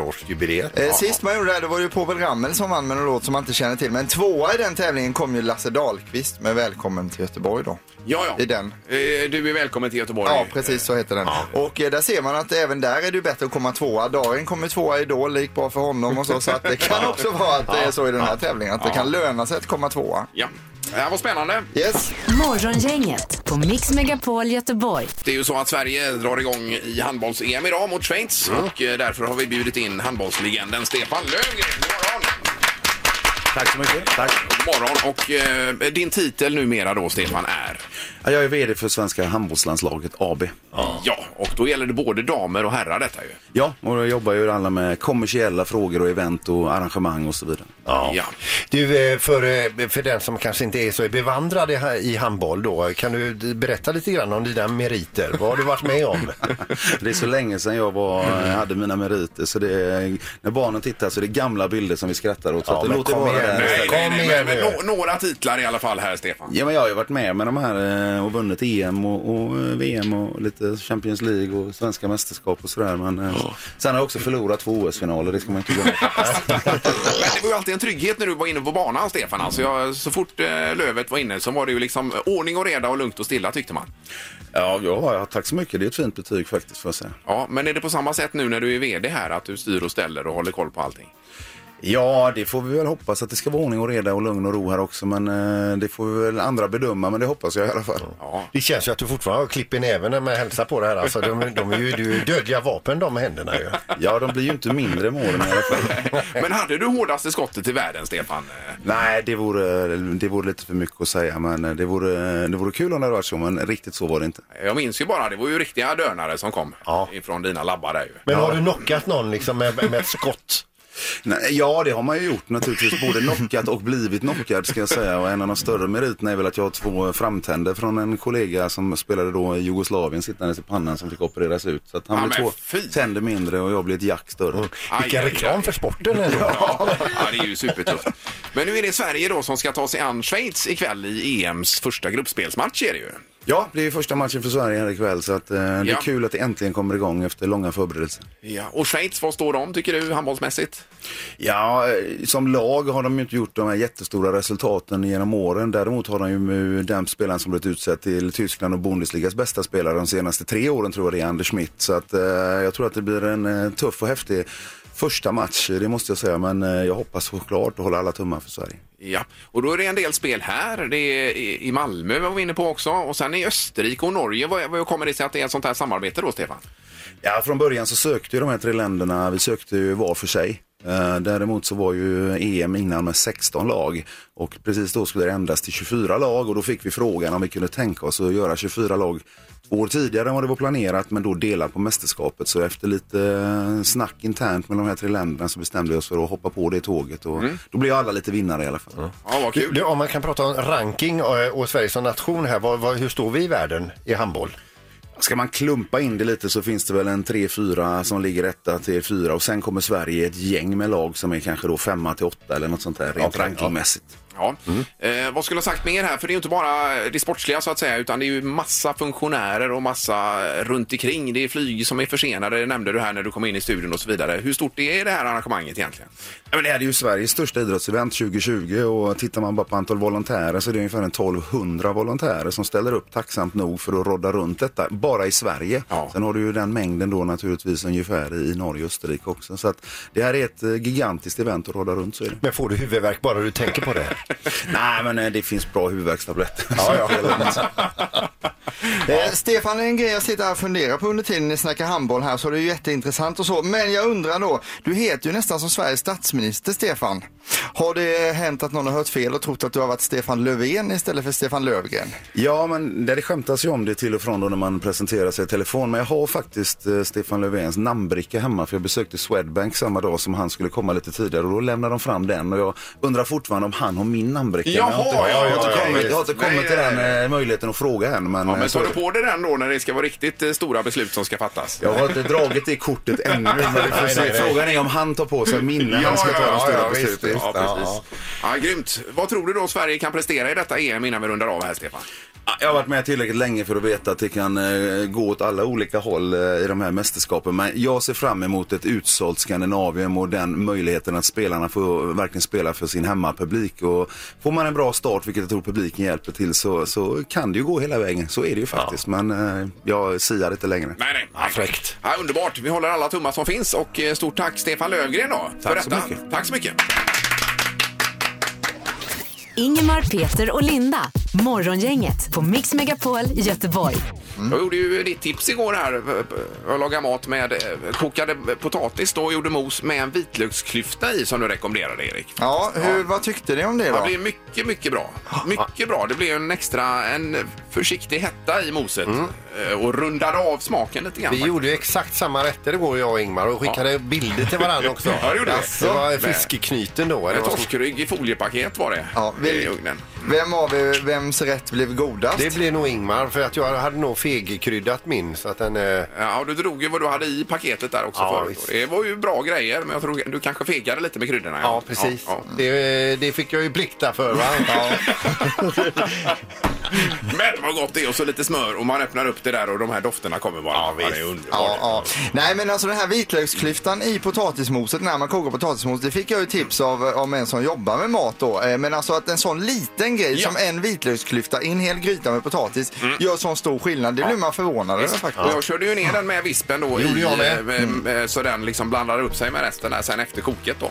Speaker 2: 400-årsjubileet.
Speaker 3: Eh, Sist man gjorde det här, då var det ju Povel Ramel som vann med en låt som man inte känner till. Men tvåa i den tävlingen kom ju Lasse Dahlqvist med Välkommen till Göteborg då.
Speaker 1: Ja, ja.
Speaker 3: I den.
Speaker 1: Eh, Du är välkommen till Göteborg.
Speaker 3: Ja, precis så heter den. Och eh, där ser man att även där är det ju bättre att komma tvåa. Darin kommer tvåa i Idol, det gick bra för honom och så. Så att det kan också vara att det är så i den här tävlingen, att det kan löna sig att komma tvåa.
Speaker 1: Ja. Det här var spännande.
Speaker 3: Yes.
Speaker 4: Morgongänget på Mix Megapol Göteborg.
Speaker 1: Det är ju så att Sverige drar igång i handbolls-EM idag mot Schweiz och eh, därför har vi bjudit in handbollslegenden Stefan Löfgren. God morgon!
Speaker 8: Tack så mycket. Tack.
Speaker 1: God morgon! Och eh, din titel numera då, Stefan, är?
Speaker 8: Ja, Jag är VD för svenska handbollslandslaget AB.
Speaker 1: Ja, och då gäller det både damer och herrar detta ju.
Speaker 8: Ja, och jag jobbar ju alla med kommersiella frågor och event och arrangemang och så vidare.
Speaker 2: Ja.
Speaker 1: Ja.
Speaker 2: Du, eh, för, eh, för den som kanske inte är så bevandrad i ha- i handboll då, kan du d- berätta lite grann om dina meriter? Vad har du varit med om?
Speaker 8: <laughs> Det är så länge sedan jag var,
Speaker 2: Mm.
Speaker 8: hade mina meriter så det är, när barnen tittar så är det gamla bilder som vi skrattar åt. Så
Speaker 2: Ja,
Speaker 8: att det
Speaker 2: men
Speaker 8: låter
Speaker 2: kom
Speaker 8: vara
Speaker 2: igen
Speaker 8: där
Speaker 2: nu.
Speaker 8: istället.
Speaker 2: Kom igen
Speaker 1: Eh, men,
Speaker 2: nu.
Speaker 1: nå- några titlar i alla fall här, Stefan.
Speaker 8: Ja, men jag har ju varit med med de här eh, och vunnit EM och, och eh, VM och lite Champions League och svenska mästerskap och sådär. Men eh, sen har jag också förlorat två OS-finaler, det ska man inte glömma.
Speaker 1: Men det var ju alltid en trygghet när du var inne på banan, Stefan. Alltså jag, så fort eh, Lövet var inne så var det ju liksom ordning och reda och lugnt och stilla tyckte man.
Speaker 8: ja, ja, ja, tack så mycket. Det är ett fint betyg faktiskt får jag säga.
Speaker 1: Ja, men är det på samma sätt nu när du är VD här, att du styr och ställer och håller koll på allting?
Speaker 8: Ja, det får vi väl hoppas att det ska vara ordning och reda och lugn och ro här också. Men eh, det får väl andra bedöma, men det hoppas jag i alla fall.
Speaker 2: Det känns ju att du fortfarande har klipp i näven när man hälsar på det här. Alltså, de, de är ju det är ju dödliga vapen de händerna ju.
Speaker 8: Ja, de blir ju inte mindre med åren i alla fall.
Speaker 1: Men hade du hårdaste skottet i världen, Stefan? Eh,
Speaker 8: Nej, det vore, det vore lite för mycket att säga, men eh, det vore, det vore kul om det hade varit så, men riktigt så var det inte.
Speaker 1: Jag minns ju bara, det var ju riktiga dönare som kom
Speaker 2: Ja.
Speaker 1: ifrån dina labbar där ju.
Speaker 2: Men har du knockat någon liksom med, med ett skott?
Speaker 8: Nej, ja, det har man ju gjort naturligtvis. Både knockat och blivit knockad ska jag säga. Och en av de större meriterna är väl att jag har två framtänder från en kollega som spelade då i Jugoslavien sittandes i pannan som fick opereras ut. Så att han
Speaker 1: Ja,
Speaker 8: blev
Speaker 1: men
Speaker 8: två
Speaker 1: fy.
Speaker 8: tänder mindre och jag blev ett jack större.
Speaker 1: Aj,
Speaker 2: Vilken
Speaker 1: aj,
Speaker 2: reklam
Speaker 1: aj.
Speaker 2: för sporten ändå.
Speaker 1: <laughs> Ja, det är ju supertufft. Men nu är det Sverige då som ska ta sig an Schweiz ikväll i EMs första gruppspelsmatch är det ju.
Speaker 8: Ja, det är ju första matchen för Sverige här ikväll så att, eh, det
Speaker 1: Ja.
Speaker 8: är kul att det äntligen kommer igång efter långa förberedelser.
Speaker 1: Ja. Och Schweiz, vad står de tycker du handbollsmässigt?
Speaker 8: Ja, eh, som lag har de ju inte gjort de här jättestora resultaten genom åren. Däremot har de ju eh, den spelaren som blivit utsedd till Tyskland och Bundesligas bästa spelare de senaste tre åren tror jag det är, Anders Schmidt. Så att, eh, jag tror att det blir en eh, tuff och häftig första match, eh, det måste jag säga. Men eh, jag hoppas såklart och håller alla tummar för Sverige.
Speaker 1: Ja, och då är det en del spel här. Det är i- i Malmö var vi inne på också och sen i Österrike och Norge. Vad vad kommer det sig att det är ett sånt här samarbete då, Stefan?
Speaker 8: Ja, från början så sökte ju de här tre länderna, vi sökte ju var för sig. Eh, Däremot så var ju EM innan med 16 lag och precis då skulle det ändras till 24 lag och då fick vi frågan om vi kunde tänka oss att göra 24 lag två år tidigare än vad det var planerat men då delat på mästerskapet. Så efter lite eh, snack internt mellan de här tre länderna så bestämde vi oss för att hoppa på det tåget och då blev alla lite vinnare i alla fall.
Speaker 1: Ja, vad
Speaker 2: Du,
Speaker 1: kul.
Speaker 2: du, om man kan prata om ranking och, och Sverige som nation här, vad, vad, hur står vi i världen i handboll?
Speaker 8: Ska man klumpa in det lite så finns det väl en 3-4 som ligger etta till 4 och sen kommer Sverige ett gäng med lag som är kanske då femma till åtta eller något sånt där rent
Speaker 2: Okej, ja.
Speaker 8: rankingmässigt.
Speaker 1: Ja. Eh, vad skulle jag ha sagt mer här? För det är ju inte bara det sportsliga så att säga utan det är ju massa funktionärer och massa runt omkring. Det är flyg som är försenade, det nämnde du här när du kom in i studion och så vidare. Hur stort är det här arrangemanget egentligen?
Speaker 8: Ja, men det här är ju Sveriges största idrottsevent 2020 och tittar man bara på antal volontärer så är det ungefär en 1200 volontärer som ställer upp tacksamt nog för att rodda runt detta, bara i Sverige.
Speaker 1: Ja.
Speaker 8: Sen har du ju den mängden då naturligtvis ungefär i Norge och Österrike också. Så att det här är ett eh, gigantiskt event att rodda runt så är det.
Speaker 2: Men får du huvudvärk bara du tänker på det?
Speaker 8: <laughs> Nej men eh, det finns bra huvudvärkstabletter. <laughs>
Speaker 3: Eh, Stefan, en grej jag sitter här och funderar på under tiden ni snackar handboll här så det är ju jätteintressant och så. Men jag undrar då, du heter ju nästan som Sveriges statsminister Stefan. Har det hänt att någon har hört fel och trott att du har varit Stefan Löfven istället för Stefan Löfgren?
Speaker 8: Ja, men det skämtas ju om det till och från då när man presenterar sig i telefon. Men jag har faktiskt eh, Stefan Löfvens namnbricka hemma för jag besökte Swedbank samma dag som han skulle komma lite tidigare och då lämnade de fram den och jag undrar fortfarande om han har min namnbricka. Men jag har inte,
Speaker 1: Jaha,
Speaker 8: jag har
Speaker 1: ja,
Speaker 8: inte
Speaker 1: ja, ja,
Speaker 8: kommit, jag har inte
Speaker 1: visst. Nej,
Speaker 8: kommit till den
Speaker 1: nej,
Speaker 8: eh, möjligheten att fråga än. Men,
Speaker 1: Ja,
Speaker 8: eh,
Speaker 1: men
Speaker 8: så-
Speaker 1: tar du på dig den då när det ska vara riktigt eh, stora beslut som ska fattas?
Speaker 8: jag har inte dragit det kortet ännu. Men vi får
Speaker 2: Nej,
Speaker 8: se.
Speaker 2: nej, nej.
Speaker 8: Frågan är om han tar på sig min när han ska ta de stora besluten.
Speaker 1: Ja, precis. Ja, grymt. Vad tror du då Sverige kan prestera i detta EM innan vi rundar av här, Stefan?
Speaker 8: Jag har varit med tillräckligt länge för att veta att det kan eh, gå åt alla olika håll eh, i de här mästerskapen. Men jag ser fram emot ett utsålt Skandinavium och den möjligheten att spelarna får verkligen spela för sin hemmapublik. Och får man en bra start, vilket jag tror publiken hjälper till, så, så kan det ju gå hela vägen. Så är det ju faktiskt. Men eh, jag siar inte längre.
Speaker 1: Nej, nej. Ja, fräckt. Ja, underbart. Vi håller alla tummar som finns och eh, stort tack Stefan Löfgren då, för
Speaker 8: Tack så
Speaker 1: detta.
Speaker 8: mycket.
Speaker 1: Tack så mycket.
Speaker 4: Ingemar, Peter och Linda. Morgongänget på Mix Megapol Göteborg.
Speaker 1: Jag gjorde ju ditt tips igår här. Jag lagade mat med eh, kokade potatis då och gjorde mos med en vitlöksklyfta i som du rekommenderade Erik.
Speaker 3: Ja, hur, vad tyckte ni om det
Speaker 1: Det
Speaker 3: då?
Speaker 1: blev mycket, mycket bra. Mycket bra. Det blev en extra, en försiktig hetta i moset eh, och rundade av smaken lite grann.
Speaker 2: Mm. Vi gjorde ju exakt samma rätter igår jag och Ingmar och skickade bilder till varandra också.
Speaker 1: <laughs> Ja, det gjorde vi.
Speaker 2: det var fiskeknyten då. eller
Speaker 1: En
Speaker 2: vad som-
Speaker 1: torskrygg i foliepaket var det
Speaker 3: Ja, vi-
Speaker 1: i ugnen.
Speaker 3: Vem av er, vems rätt blev godast?
Speaker 2: Det blev nog Ingmar för att jag hade nog fegkryddat min så att den... eh,
Speaker 1: Ja, och du drog ju vad du hade i paketet där också
Speaker 2: Ja,
Speaker 1: förut.
Speaker 2: visst.
Speaker 1: Och Det var ju bra grejer, men jag tror du kanske fegade lite med kryddorna.
Speaker 2: Ja, precis.
Speaker 1: Ja, ja.
Speaker 2: Det, det fick jag ju plikta för va?
Speaker 1: Men vad gott det är och så lite smör och man öppnar upp det där och de här dofterna kommer bara. Ja, det är underbart.
Speaker 3: Ja, ja. Nej men alltså den här vitlöksklyftan i potatismoset när man kokar potatismos det fick jag ju tips av, av en som jobbar med mat då. Eh, Men alltså att en sån liten grej
Speaker 1: Ja.
Speaker 3: som en vitlöksklyfta i en hel gryta med potatis gör sån stor skillnad. Det blir man förvånad över
Speaker 1: Och
Speaker 3: faktiskt.
Speaker 1: jag körde ju ner den med vispen då
Speaker 2: Gjorde
Speaker 1: i,
Speaker 2: jag med. Mm.
Speaker 1: eh, eh, så den liksom blandade upp sig med resten där sen efter koket då.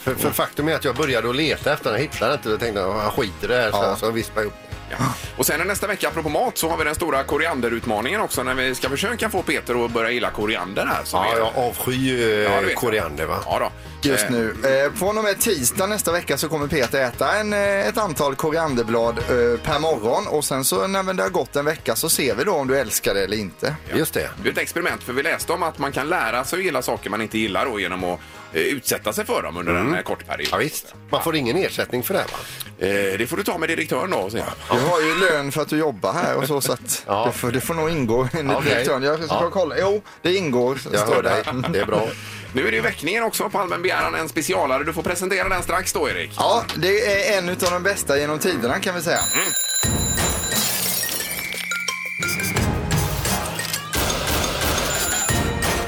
Speaker 2: För, för faktum är att jag började att leta efter den, jag hittade den inte. Jag tänkte jag skiter i det här, så,
Speaker 3: Ja.
Speaker 2: så vispade jag upp den.
Speaker 1: Ja. Och sen nästa vecka, apropå mat, så har vi den stora korianderutmaningen också när vi ska försöka få Peter att börja gilla koriander här. Som
Speaker 2: Ja,
Speaker 1: är...
Speaker 2: jag avskyr
Speaker 1: Ja,
Speaker 2: ja,
Speaker 1: det vet jag.
Speaker 2: koriander va?
Speaker 1: Ja, då.
Speaker 3: Just
Speaker 1: Eh,
Speaker 3: nu. Eh, från och med tisdag nästa vecka så kommer Peter äta en, eh, ett antal korianderblad eh, per morgon och sen så när det har gått en vecka så ser vi då om du älskar det eller inte.
Speaker 2: Just det.
Speaker 1: Det är ett experiment, för vi läste om att man kan lära sig att gilla saker man inte gillar då, genom att eh, utsätta sig för dem under en eh, kort period.
Speaker 2: Mm. Ja, visst. Man får ingen ersättning för det här va?
Speaker 1: Eh, det får du ta med direktören då. Så.
Speaker 3: Du har ju lön för att du jobbar här och så så att
Speaker 2: Ja.
Speaker 3: det, får, det får nog ingå enligt
Speaker 2: Okej.
Speaker 3: direktören. Jag ska
Speaker 2: Ja.
Speaker 3: kolla. Jo, det ingår.
Speaker 2: Jag
Speaker 3: står
Speaker 2: hör
Speaker 3: det.
Speaker 2: dig. Det är bra.
Speaker 1: Nu är det ju väckningen också på allmän begäran, en specialare. Du får presentera den strax då, Erik.
Speaker 3: Ja, det är en av de bästa genom tiderna kan vi säga.
Speaker 2: Mm.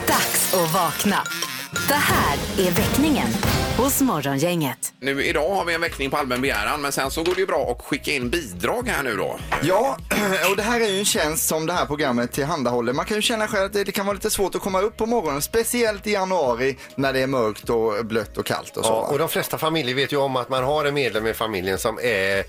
Speaker 4: Dags att vakna. Det här är väckningen hos Morgongänget.
Speaker 1: Nu, idag har vi en väckning på allmän begäran, men sen så går det ju bra att skicka in bidrag här nu då.
Speaker 3: Ja, <clears throat> och det här är ju en tjänst som det här programmet tillhandahåller. Man kan ju känna själv att det det kan vara lite svårt att komma upp på morgonen, speciellt i januari när det är mörkt och blött och kallt och så.
Speaker 2: Ja,
Speaker 3: va?
Speaker 2: och de flesta familjer vet ju om att man har en medlem i familjen som är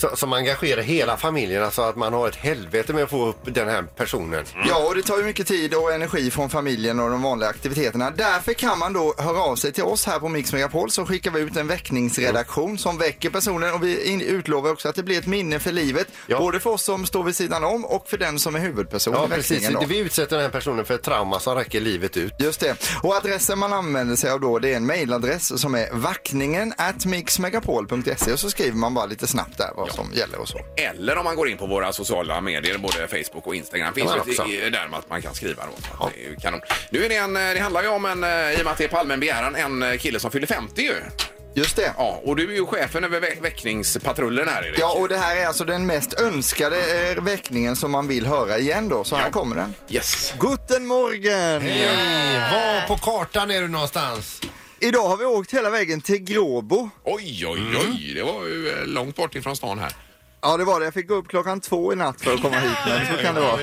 Speaker 2: så- som engagerar hela familjen, alltså att man har ett helvete med att få upp den här personen.
Speaker 3: Ja, och det tar ju mycket tid och energi från familjen och de vanliga aktiviteterna. Därför kan man då höra av sig till oss här på Mix Megapol så skickar vi ut en väckningsredaktion som väcker personen och vi in- utlovar också att det blir ett minne för livet.
Speaker 2: Ja.
Speaker 3: Både för oss som står vid sidan om och för den som är huvudperson
Speaker 2: Ja,
Speaker 3: i
Speaker 2: precis.
Speaker 3: väckningen. Då.
Speaker 2: Vi utsätter den här personen för ett trauma som räcker livet ut.
Speaker 3: Just det. Och adressen man använder sig av då det är en mejladress som är vackningen at mixmegapol.se och så skriver man bara lite snabbt där vad som gäller och så.
Speaker 1: Eller om man går in på våra sociala medier, både Facebook och Instagram. finns
Speaker 2: Ja,
Speaker 1: ju ett-
Speaker 2: också.
Speaker 1: i- där med att man kan skriva. Då. Så att Det, är ju kanon. Nu är det, en, eh, det handlar ju om, en, eh, i och med att det är på allmän begäran, en eh, kille som fyller 50 ju.
Speaker 3: Just det.
Speaker 1: Ja, och du är ju chefen över vä- väckningspatrullen här, Erik.
Speaker 3: Ja, och det här är alltså den mest önskade eh, väckningen som man vill höra igen då, så här kommer den.
Speaker 1: Yes.
Speaker 3: Guten morgen!
Speaker 2: Var på kartan är du någonstans?
Speaker 3: Idag har vi åkt hela vägen till Gråbo.
Speaker 1: Oj, oj, oj. Det var ju eh, långt bort ifrån stan här.
Speaker 3: Ja, det var det. Jag fick gå upp klockan två i natt för att komma hit, men så kan det vara.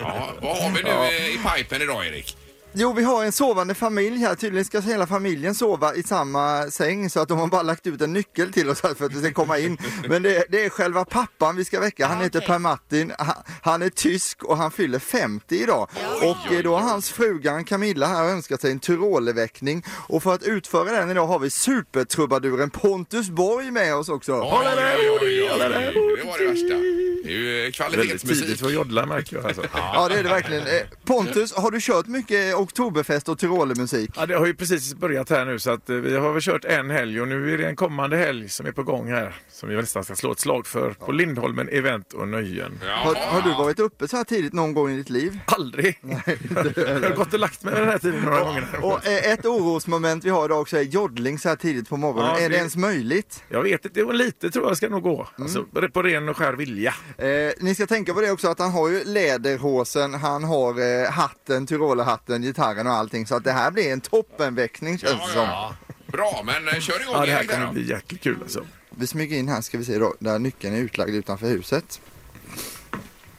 Speaker 1: Ja, vad har vi nu eh, i pipen idag, Erik?
Speaker 3: Jo, vi har en sovande familj här. Tydligen ska hela familjen sova i samma säng så att de har bara lagt ut en nyckel till oss här för att vi ska komma in. Men det, det är själva pappan vi ska väcka. Han heter Per-Martin. Han, han är tysk och han fyller 50 idag. Och eh, då har hans frugan Camilla här önskat sig en Tyroleväckning. Och för att utföra den idag har vi supertrubaduren Pontus Borg med oss också.
Speaker 1: Oj, oj, oj, oj. Det var det värsta. Det är ju eh, kvalitetsmusik.
Speaker 9: för att joddla märker jag. Alltså.
Speaker 3: Ja, det är det verkligen. Eh, Pontus, har du kört mycket eh, Oktoberfest och Tyrolemusik?
Speaker 9: Ja, det har ju precis börjat här nu så att eh, vi har väl kört en helg och nu är det en kommande helg som är på gång här som vi nästan ska slå ett slag för på Lindholmen Event och Nöjen.
Speaker 3: Har, har du varit uppe så här tidigt någon gång i
Speaker 9: <laughs>
Speaker 3: ditt liv?
Speaker 9: Aldrig! jag har gått och lagt mig den här tiden några gånger. här.
Speaker 3: Och eh, ett orosmoment vi har idag också är joddling så här tidigt på morgonen.
Speaker 9: Ja,
Speaker 3: Är det
Speaker 9: det-
Speaker 3: ens möjligt? Mm.
Speaker 9: Jag vet inte, och lite tror jag ska nog gå. Alltså, på ren och skär vilja.
Speaker 3: Eh, ni ska tänka på det också att han har ju läderhosen, han har eh, hatten, tyrolerhatten, gitarren och allting. Så att det här blir en toppenväckning känns det som.
Speaker 1: Bra, men eh, kör igång
Speaker 9: Ja, det här
Speaker 1: Erik, där
Speaker 9: kommer
Speaker 1: då.
Speaker 9: bli jäkligt kul alltså.
Speaker 3: Vi smyger in här ska vi se då, där nyckeln är utlagd utanför huset.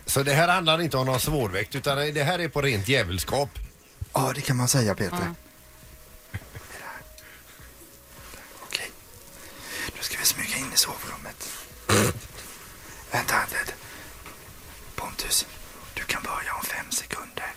Speaker 2: Så det här handlar inte om någon svårväkt utan det här är på rent djävulskap.
Speaker 3: Ja, det kan man säga Peter. Okej. Nu ska vi smyga in i sovrummet. Vänta, vänta. Pontus, du kan börja om fem sekunder.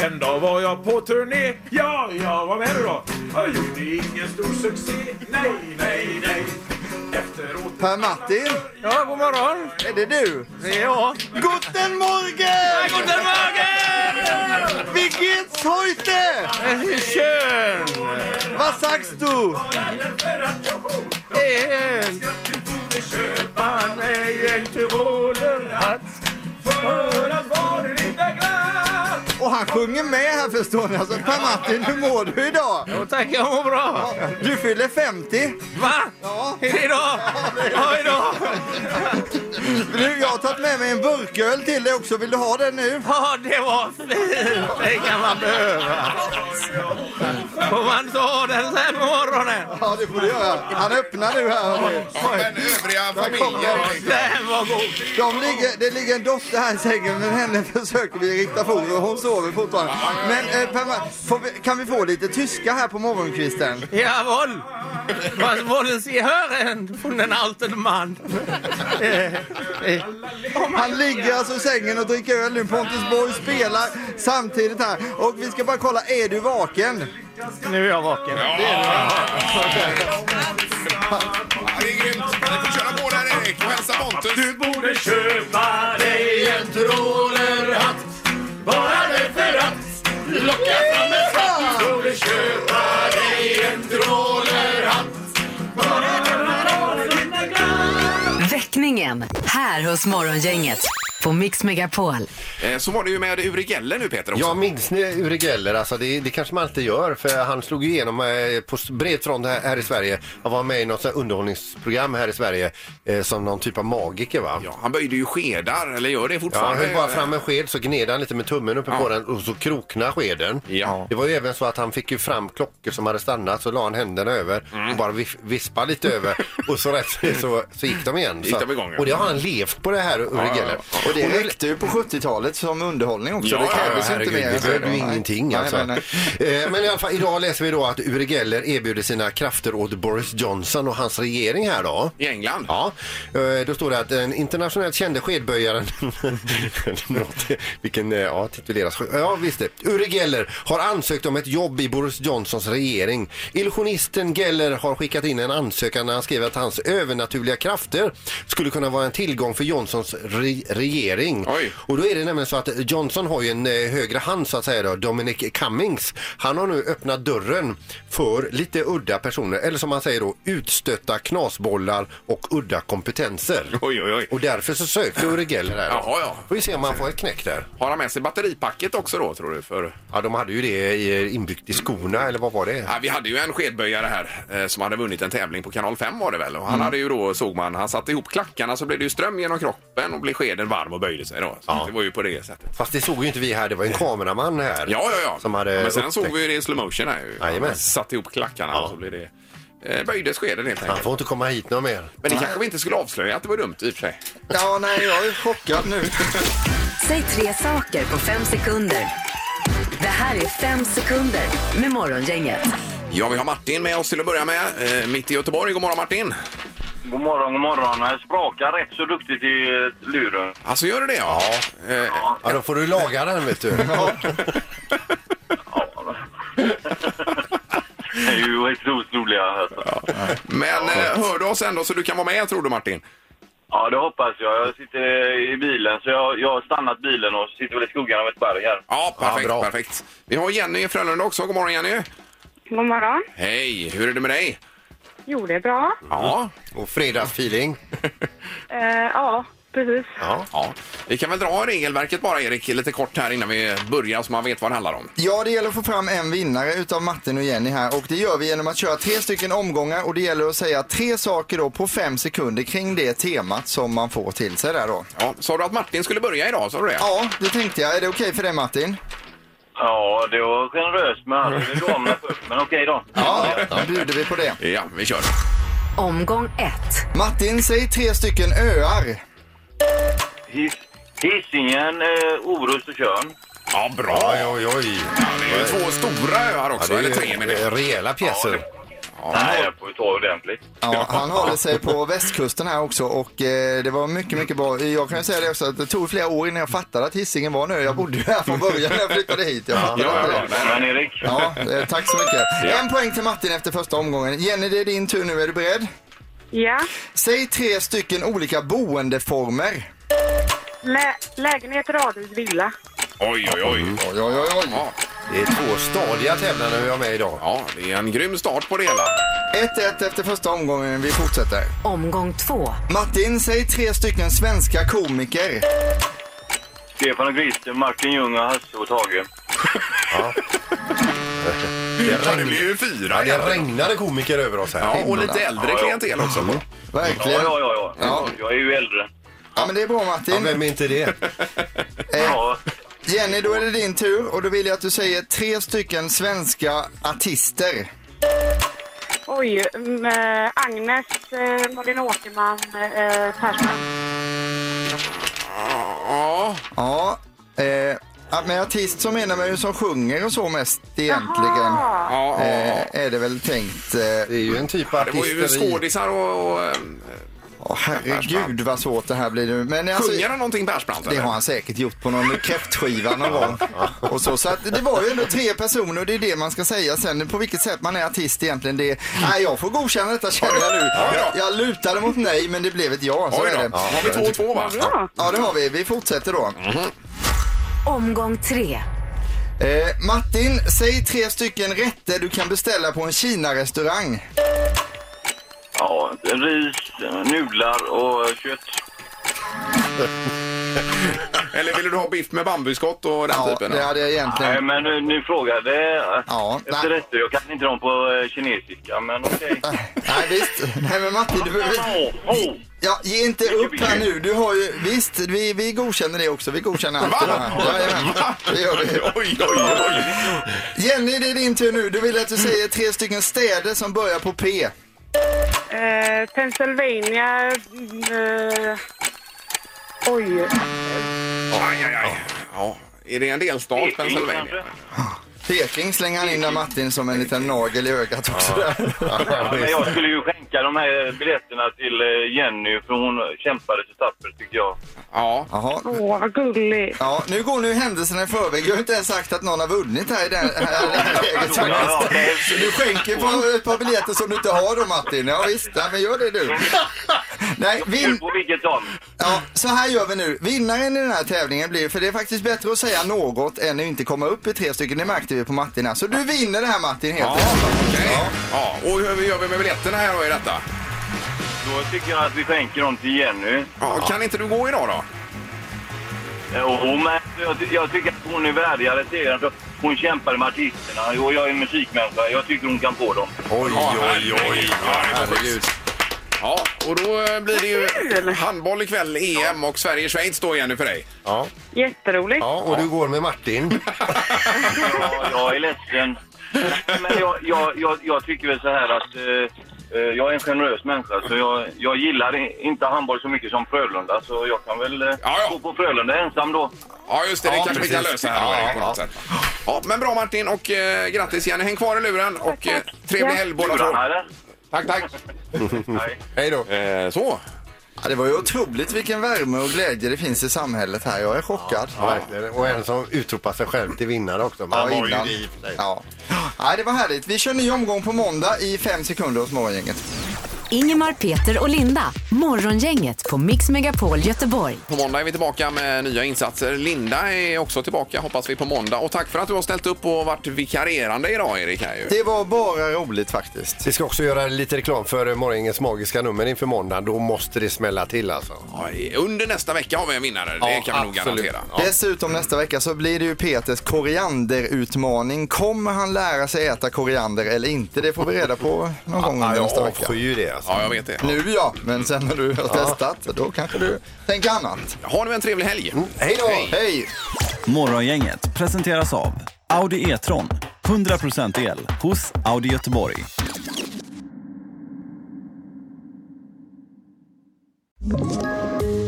Speaker 9: En dag var jag på turné, ja, jag var med nu då. Jag gjorde ingen stor succé, nej, nej, nej. Efteråt...
Speaker 3: Per-Martin,
Speaker 9: Ja, god morgon.
Speaker 3: är det du?
Speaker 9: Det är jag.
Speaker 3: Guten Morgen!
Speaker 9: Guten Morgen! Eh,
Speaker 3: Wie geht's heute?
Speaker 9: Schön!
Speaker 3: Was sagst du?
Speaker 9: En. Köpa mig en tyrolerhatt för att vara lite glad.
Speaker 3: Och han sjunger med här förstår ni. Alltså Per-Martin, hur mår du idag?
Speaker 9: Jo tack, jag mår bra.
Speaker 3: Du fyller 50.
Speaker 9: Va?
Speaker 3: Ja.
Speaker 9: Är det idag? Ja, idag.
Speaker 3: Du, jag har tagit med mig en burköl till dig också. Vill du ha den nu?
Speaker 10: Ja, det var fint! Det kan man behöva. Får man ta den så här på morgonen?
Speaker 3: Ja, det får du göra. Han öppnar nu här. hörni.
Speaker 1: Men övriga familjen...
Speaker 10: Den var god!
Speaker 3: De ligger, det ligger en dotter här i sängen, men henne försöker vi rikta fokus och hon sover fortfarande. Men eh, Pamela, får vi, kan vi få lite tyska här på morgonkvisten?
Speaker 10: Jawohl! Was wollen Sie hören von den alten Mann? Eh, eh.
Speaker 3: Han ligger alltså i sängen och dricker öl nu. Pontus Borg spelar samtidigt här. Och vi ska bara kolla, är du vaken?
Speaker 10: Nu är jag vaken.
Speaker 1: Ja, det är grymt. Ni får köra på där, Erik. Och hälsa Pontus.
Speaker 10: Du borde köpa dig en trålerhatt Bara det för att locka fram en skatt Du borde köpa dig en trålerhatt
Speaker 4: Väckningen här hos Morgongänget på Mix Megapol.
Speaker 1: Eh, Så var det ju med Uri Geller nu, Peter. Också.
Speaker 2: Jag minns ni Uri Geller, alltså det, det kanske man alltid gör för han slog ju igenom eh, på s- bred front här, här i Sverige. Han var med i något så här underhållningsprogram här i Sverige eh, som någon typ av magiker va?
Speaker 1: Ja, han böjde ju skedar, eller gör det
Speaker 2: Ja, han
Speaker 1: fortfarande.
Speaker 2: höll bara fram en sked så gned han lite med tummen uppe
Speaker 1: Ja.
Speaker 2: på den och så krokna skeden.
Speaker 1: Ja.
Speaker 2: Det var ju även så att han fick ju fram klockor som hade stannat så la han händerna över
Speaker 1: Mm.
Speaker 2: och bara vif- vispade lite över
Speaker 1: <laughs>
Speaker 2: och så rätt så, så gick de igen.
Speaker 1: Gick
Speaker 2: så,
Speaker 1: de igång, ja.
Speaker 2: Och det har han levt på det här Uri
Speaker 1: ja,
Speaker 2: Geller.
Speaker 1: ja.
Speaker 3: Och det räckte ju på 70-talet som underhållning också.
Speaker 1: Ja,
Speaker 3: det
Speaker 1: ja,
Speaker 3: krävdes ju inte
Speaker 2: Herregud,
Speaker 3: mer.
Speaker 2: det behövde ju
Speaker 3: Nej.
Speaker 2: ingenting alltså.
Speaker 3: Nej, nej, nej.
Speaker 2: Eh, Men i alla fall, idag läser vi då att Uri Geller erbjuder sina krafter åt Boris Johnson och hans regering här då.
Speaker 1: I England.
Speaker 2: Ja, eh, då står det att den internationellt kände skedböjaren, <laughs> Något, vilken eh, ja, tituleras, ja visst det, Uri Geller har ansökt om ett jobb i Boris Johnsons regering. Illusionisten Geller har skickat in en ansökan när han skrev att hans övernaturliga krafter skulle kunna vara en tillgång för Johnsons re regering.
Speaker 1: Oj.
Speaker 2: Och då är det nämligen så att Johnson har ju en eh, högre hand så att säga då, Dominic Cummings. Han har nu öppnat dörren för lite udda personer, eller som man säger då utstötta knasbollar och udda kompetenser.
Speaker 1: Oj, oj, oj.
Speaker 2: Och därför så sökte Uri Geller här.
Speaker 1: Jaha, ja.
Speaker 2: Får vi se om han får ett knäck där.
Speaker 1: Har han med sig batteripacket också då, tror du? För...
Speaker 2: Ja, de hade ju det i- inbyggt i skorna, eller vad var det?
Speaker 1: Ja, vi hade ju en skedböjare här eh, som hade vunnit en tävling på kanal 5 var det väl. Och
Speaker 2: Mm.
Speaker 1: han hade ju då, såg man, han satte ihop klackarna så blev det ju ström genom kroppen och blev skeden varm och böjde sig då. Så det var ju på det sättet.
Speaker 2: Fast det såg ju inte vi här, det var ju en kameraman här.
Speaker 1: Ja, ja, ja.
Speaker 2: Som hade
Speaker 1: Ja, men sen
Speaker 2: upptäckt-
Speaker 1: såg vi ju det i slow motion här ju.
Speaker 2: Jajamän.
Speaker 1: Han satte ihop klackarna och så blev det... eh, Böjdes skeden helt
Speaker 2: Han
Speaker 1: enkelt.
Speaker 2: får inte komma hit någon mer.
Speaker 1: Men det kanske vi inte skulle avslöja att det var dumt i och för sig.
Speaker 3: Ja, nej, jag är chockad nu.
Speaker 4: Säg tre saker på fem sekunder. Det här är fem sekunder med Morgongänget.
Speaker 1: Ja, vi har Martin med oss till att börja med. Eh, mitt i Göteborg. God morgon Martin!
Speaker 7: God morgon, god morgon. Jag sprakar rätt så duktigt i eh, luren.
Speaker 1: Alltså gör du det? Ja. Eh,
Speaker 2: Ja, då får du laga den vet du.
Speaker 7: Det är ju helt otroliga. Alltså.
Speaker 1: Men eh, hör du oss ändå så du kan vara med tror du Martin?
Speaker 7: Ja, det hoppas jag. Jag sitter eh, i bilen, så jag, jag har stannat bilen och sitter väl i skuggan av ett berg här.
Speaker 1: Ja, perfekt.
Speaker 2: bra.
Speaker 1: perfekt. Vi har Jenny i Frölunda också. God morgon Jenny!
Speaker 5: God morgon.
Speaker 1: Hej! Hur är det med dig?
Speaker 5: Jo, det är bra.
Speaker 1: Ja.
Speaker 2: Och fredagsfeeling.
Speaker 5: Eh, ja, precis.
Speaker 1: ja. Vi kan väl dra regelverket bara Erik lite kort här innan vi börjar så man vet vad det handlar om.
Speaker 3: Ja, det gäller att få fram en vinnare utav Martin och Jenny här och det gör vi genom att köra tre stycken omgångar och det gäller att säga tre saker då på fem sekunder kring det temat som man får till sig där då.
Speaker 1: Ja. Sa du att Martin skulle börja idag? Sa du det?
Speaker 3: Ja, det tänkte jag. Är det okej för dig Martin?
Speaker 7: Ja, det var generöst med alla damerna först, men okej då.
Speaker 3: Ja, då bjuder vi på det.
Speaker 1: Ja, vi kör.
Speaker 4: Omgång ett.
Speaker 3: Martin, säg tre stycken öar.
Speaker 7: His, Hisingen, eh, Orust och Tjörn.
Speaker 1: Ja, bra!
Speaker 2: Oj, oj, oj.
Speaker 1: Det är ju två stora öar också, eller tre menar jag.
Speaker 2: eh, rejäla pjäser.
Speaker 7: Nej, jag får ju ta ordentligt.
Speaker 3: Ja, han håller sig på västkusten här också och eh, det var mycket, mycket bra. Jag kan ju säga det också att det tog flera år innan jag fattade att Hisingen var nu. Jag bodde ju här från början när jag flyttade hit. Jag fattade
Speaker 1: Ja,
Speaker 3: inte
Speaker 1: ja,
Speaker 3: det.
Speaker 1: ja.
Speaker 7: Men Erik,
Speaker 3: Ja, eh, tack så mycket. En poäng till Martin efter första omgången. Jenny, det är din tur nu. Är du beredd?
Speaker 5: Ja.
Speaker 3: Säg tre stycken olika boendeformer.
Speaker 5: Lä- lägenhet, radhus, villa.
Speaker 1: Oj, oj, oj.
Speaker 3: Oj, oj, oj, oj.
Speaker 1: Ja.
Speaker 2: Det är två stadiga tävlande vi har med idag.
Speaker 1: ja, det är en grym start på det hela.
Speaker 3: 1-1 efter första omgången. Vi fortsätter.
Speaker 4: Omgång två.
Speaker 3: Martin, säg tre stycken svenska komiker.
Speaker 7: Stefan och Christer, Martin Ljung och Hasse och Tage.
Speaker 2: Det,
Speaker 1: Ja, det blir
Speaker 2: regn...
Speaker 1: ju fyra.
Speaker 2: ja, det regnade komiker över oss här.
Speaker 1: Ja, och lite äldre klientel också.
Speaker 7: Ja,
Speaker 3: Verkligen.
Speaker 7: ja, ja. ja.
Speaker 3: Ja.
Speaker 7: Jag är ju äldre.
Speaker 3: Ja, men det är bra Martin. Ja,
Speaker 2: vem är inte det?
Speaker 3: eh, Jenny, då är det din tur och då vill jag att du säger tre stycken svenska artister.
Speaker 5: Oj, mm, eh, Agnes, eh, Malin Åkerman, eh, Persson.
Speaker 3: Ja. Ja. Eh, att med artist så menar man ju som sjunger och så mest egentligen.
Speaker 1: Ja, ja.
Speaker 3: Eh, är det väl tänkt. Eh. Det är
Speaker 2: ju en typ
Speaker 1: Det var ju skådisar och... och eh,
Speaker 3: Åh, herregud vad svårt det här blir nu. Men alltså,
Speaker 1: Sjunger han någonting Persbrandt?
Speaker 3: det
Speaker 1: eller?
Speaker 3: har han säkert gjort på någon kräftskiva
Speaker 1: <laughs>
Speaker 3: någon gång. Och så, så att det var ju ändå tre personer och det är det man ska säga sen. På vilket sätt man är artist egentligen det Nej, jag får godkänna detta känner jag nu.
Speaker 1: då.
Speaker 3: Jag lutade mot nej men det blev ett ja. Så
Speaker 1: Oj
Speaker 3: är
Speaker 1: då.
Speaker 3: det.
Speaker 1: Har vi två och två va?
Speaker 3: Ja det har vi. Vi fortsätter då.
Speaker 4: Omgång tre.
Speaker 3: Eh, Martin, säg tre stycken rätter du kan beställa på en Kina-restaurang.
Speaker 7: Ja, ris, nudlar och kött.
Speaker 1: Eller ville du ha biff med bambuskott och den
Speaker 3: Ja,
Speaker 1: typen?
Speaker 3: det hade jag egentligen.
Speaker 7: Nej, men nu, nu frågade
Speaker 3: Ja,
Speaker 7: efter
Speaker 3: nej.
Speaker 7: rätter. Jag kan inte dem på eh, kinesiska, men okej.
Speaker 3: eh, Nej, visst. Nej, men Martin, du behöver...
Speaker 7: Åh, åh.
Speaker 3: Ja, ge inte upp här nu. Du har ju... Visst, vi, vi godkänner det också. Vi godkänner allt.
Speaker 1: Va?
Speaker 3: det här. Jajamän, det gör vi.
Speaker 1: <laughs> Oj, oj, oj.
Speaker 3: Jenny, det är din tur nu. Du vill att du säger tre stycken städer som börjar på P.
Speaker 5: Eh, Pennsylvania... mm, Eh, oj.
Speaker 1: Aj, aj, aj. Ja. Är det en delstat, Pennsylvania?
Speaker 7: kanske?
Speaker 3: Peking slänger han in där Martin som en liten nagel i ögat också. Där.
Speaker 7: Ja, men jag skulle ju skänka de här biljetterna till eh, Jenny för hon kämpade så tappert tycker jag.
Speaker 1: Ja.
Speaker 3: Jaha.
Speaker 5: Åh, vad gulligt.
Speaker 3: Ja, nu går nu händelserna i förväg. Jag har inte ens sagt att någon har vunnit här i det här, här, här läget
Speaker 7: Ja,
Speaker 3: faktiskt.
Speaker 7: ja.
Speaker 3: Så du skänker på ett par biljetter som du inte har då Martin. Ja visst, nej, men gör det du. Nej,
Speaker 7: Nu
Speaker 3: vin...
Speaker 7: på vilket som.
Speaker 3: ja, så här gör vi nu. Vinnaren i den här tävlingen blir, för det är faktiskt bättre att säga något än att inte komma upp i tre stycken. Det märkte vi på Martin här. Så du vinner det här Martin helt
Speaker 1: Ja,
Speaker 3: enkelt.
Speaker 1: okej. Ja. Och hur gör vi med biljetterna här då i detta?
Speaker 7: Då tycker jag att vi skänker dem till Jenny.
Speaker 1: Ja, kan inte du gå idag då?
Speaker 7: Eh, Och hon, men jag, ty- jag tycker att hon är värdigare segern för hon kämpade med artisterna och jag är musikmänniska. Jag tycker hon kan få dem.
Speaker 2: Oj,
Speaker 1: Ja,
Speaker 2: oj, oj.
Speaker 1: herregud. Ja, det är så
Speaker 2: Herregud.
Speaker 1: schysst. Ja, och då eh, blir det ju handboll ikväll, EM och Sverige-Schweiz då Jenny för dig.
Speaker 2: Ja,
Speaker 5: Jätteroligt.
Speaker 2: ja, och du går med Martin.
Speaker 7: Ja, jag är ledsen. Men jag, jag, jag, jag tycker väl så här att eh, eh, jag är en generös människa så jag, jag gillar i- inte handboll så mycket som Frölunda så jag kan väl eh,
Speaker 1: ja.
Speaker 7: gå på Frölunda ensam då.
Speaker 1: Ja, just det. Det kanske vi kan lösa här då, Erik, på något sätt. Ja, men bra Martin och eh, grattis Jenny. Häng kvar i luren och eh, trevlig
Speaker 5: Ja.
Speaker 1: helg båda två.
Speaker 7: Lurarna eller?
Speaker 1: Tack, tack.
Speaker 7: Nej.
Speaker 2: <laughs> Hej då.
Speaker 1: Eh, så.
Speaker 3: Ja, det var ju otroligt vilken värme och glädje det finns i samhället här. Jag är chockad.
Speaker 2: Ja, verkligen. Och en som utropar sig själv till vinnare också. Man
Speaker 3: Ja,
Speaker 2: var ju
Speaker 3: innan.
Speaker 2: det i och för sig.
Speaker 3: Ja. Nej, det var härligt. Vi kör ny omgång på måndag i fem sekunder hos Morgongänget.
Speaker 4: Ingemar, Peter och Linda. Morgongänget på Mix Megapol Göteborg.
Speaker 1: På måndag är vi tillbaka med nya insatser. Linda är också tillbaka, hoppas vi, på måndag. Och tack för att du har ställt upp och varit vikarierande idag, Erik. Här ju.
Speaker 3: Det var bara roligt faktiskt.
Speaker 2: Vi ska också göra lite reklam för morgonens magiska nummer inför måndag. Då måste det smälla till alltså.
Speaker 1: Ja, Under nästa vecka har vi en vinnare, det
Speaker 2: Ja,
Speaker 1: kan vi nog
Speaker 2: absolut.
Speaker 1: garantera.
Speaker 2: Ja.
Speaker 3: Dessutom nästa vecka så blir det ju Peters korianderutmaning. Kommer han lära sig äta koriander eller inte? Det får vi reda på någon gång under nästa vecka.
Speaker 2: avskyr det alltså.
Speaker 1: Ja, jag vet det.
Speaker 3: Nu ja, men sen när du har testat då kanske du tänker annat.
Speaker 1: Ha nu en trevlig helg.
Speaker 2: Hej då!
Speaker 3: Hej!
Speaker 11: Morgongänget presenteras av Audi E-tron. 100% el hos Audi Göteborg.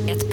Speaker 4: Ett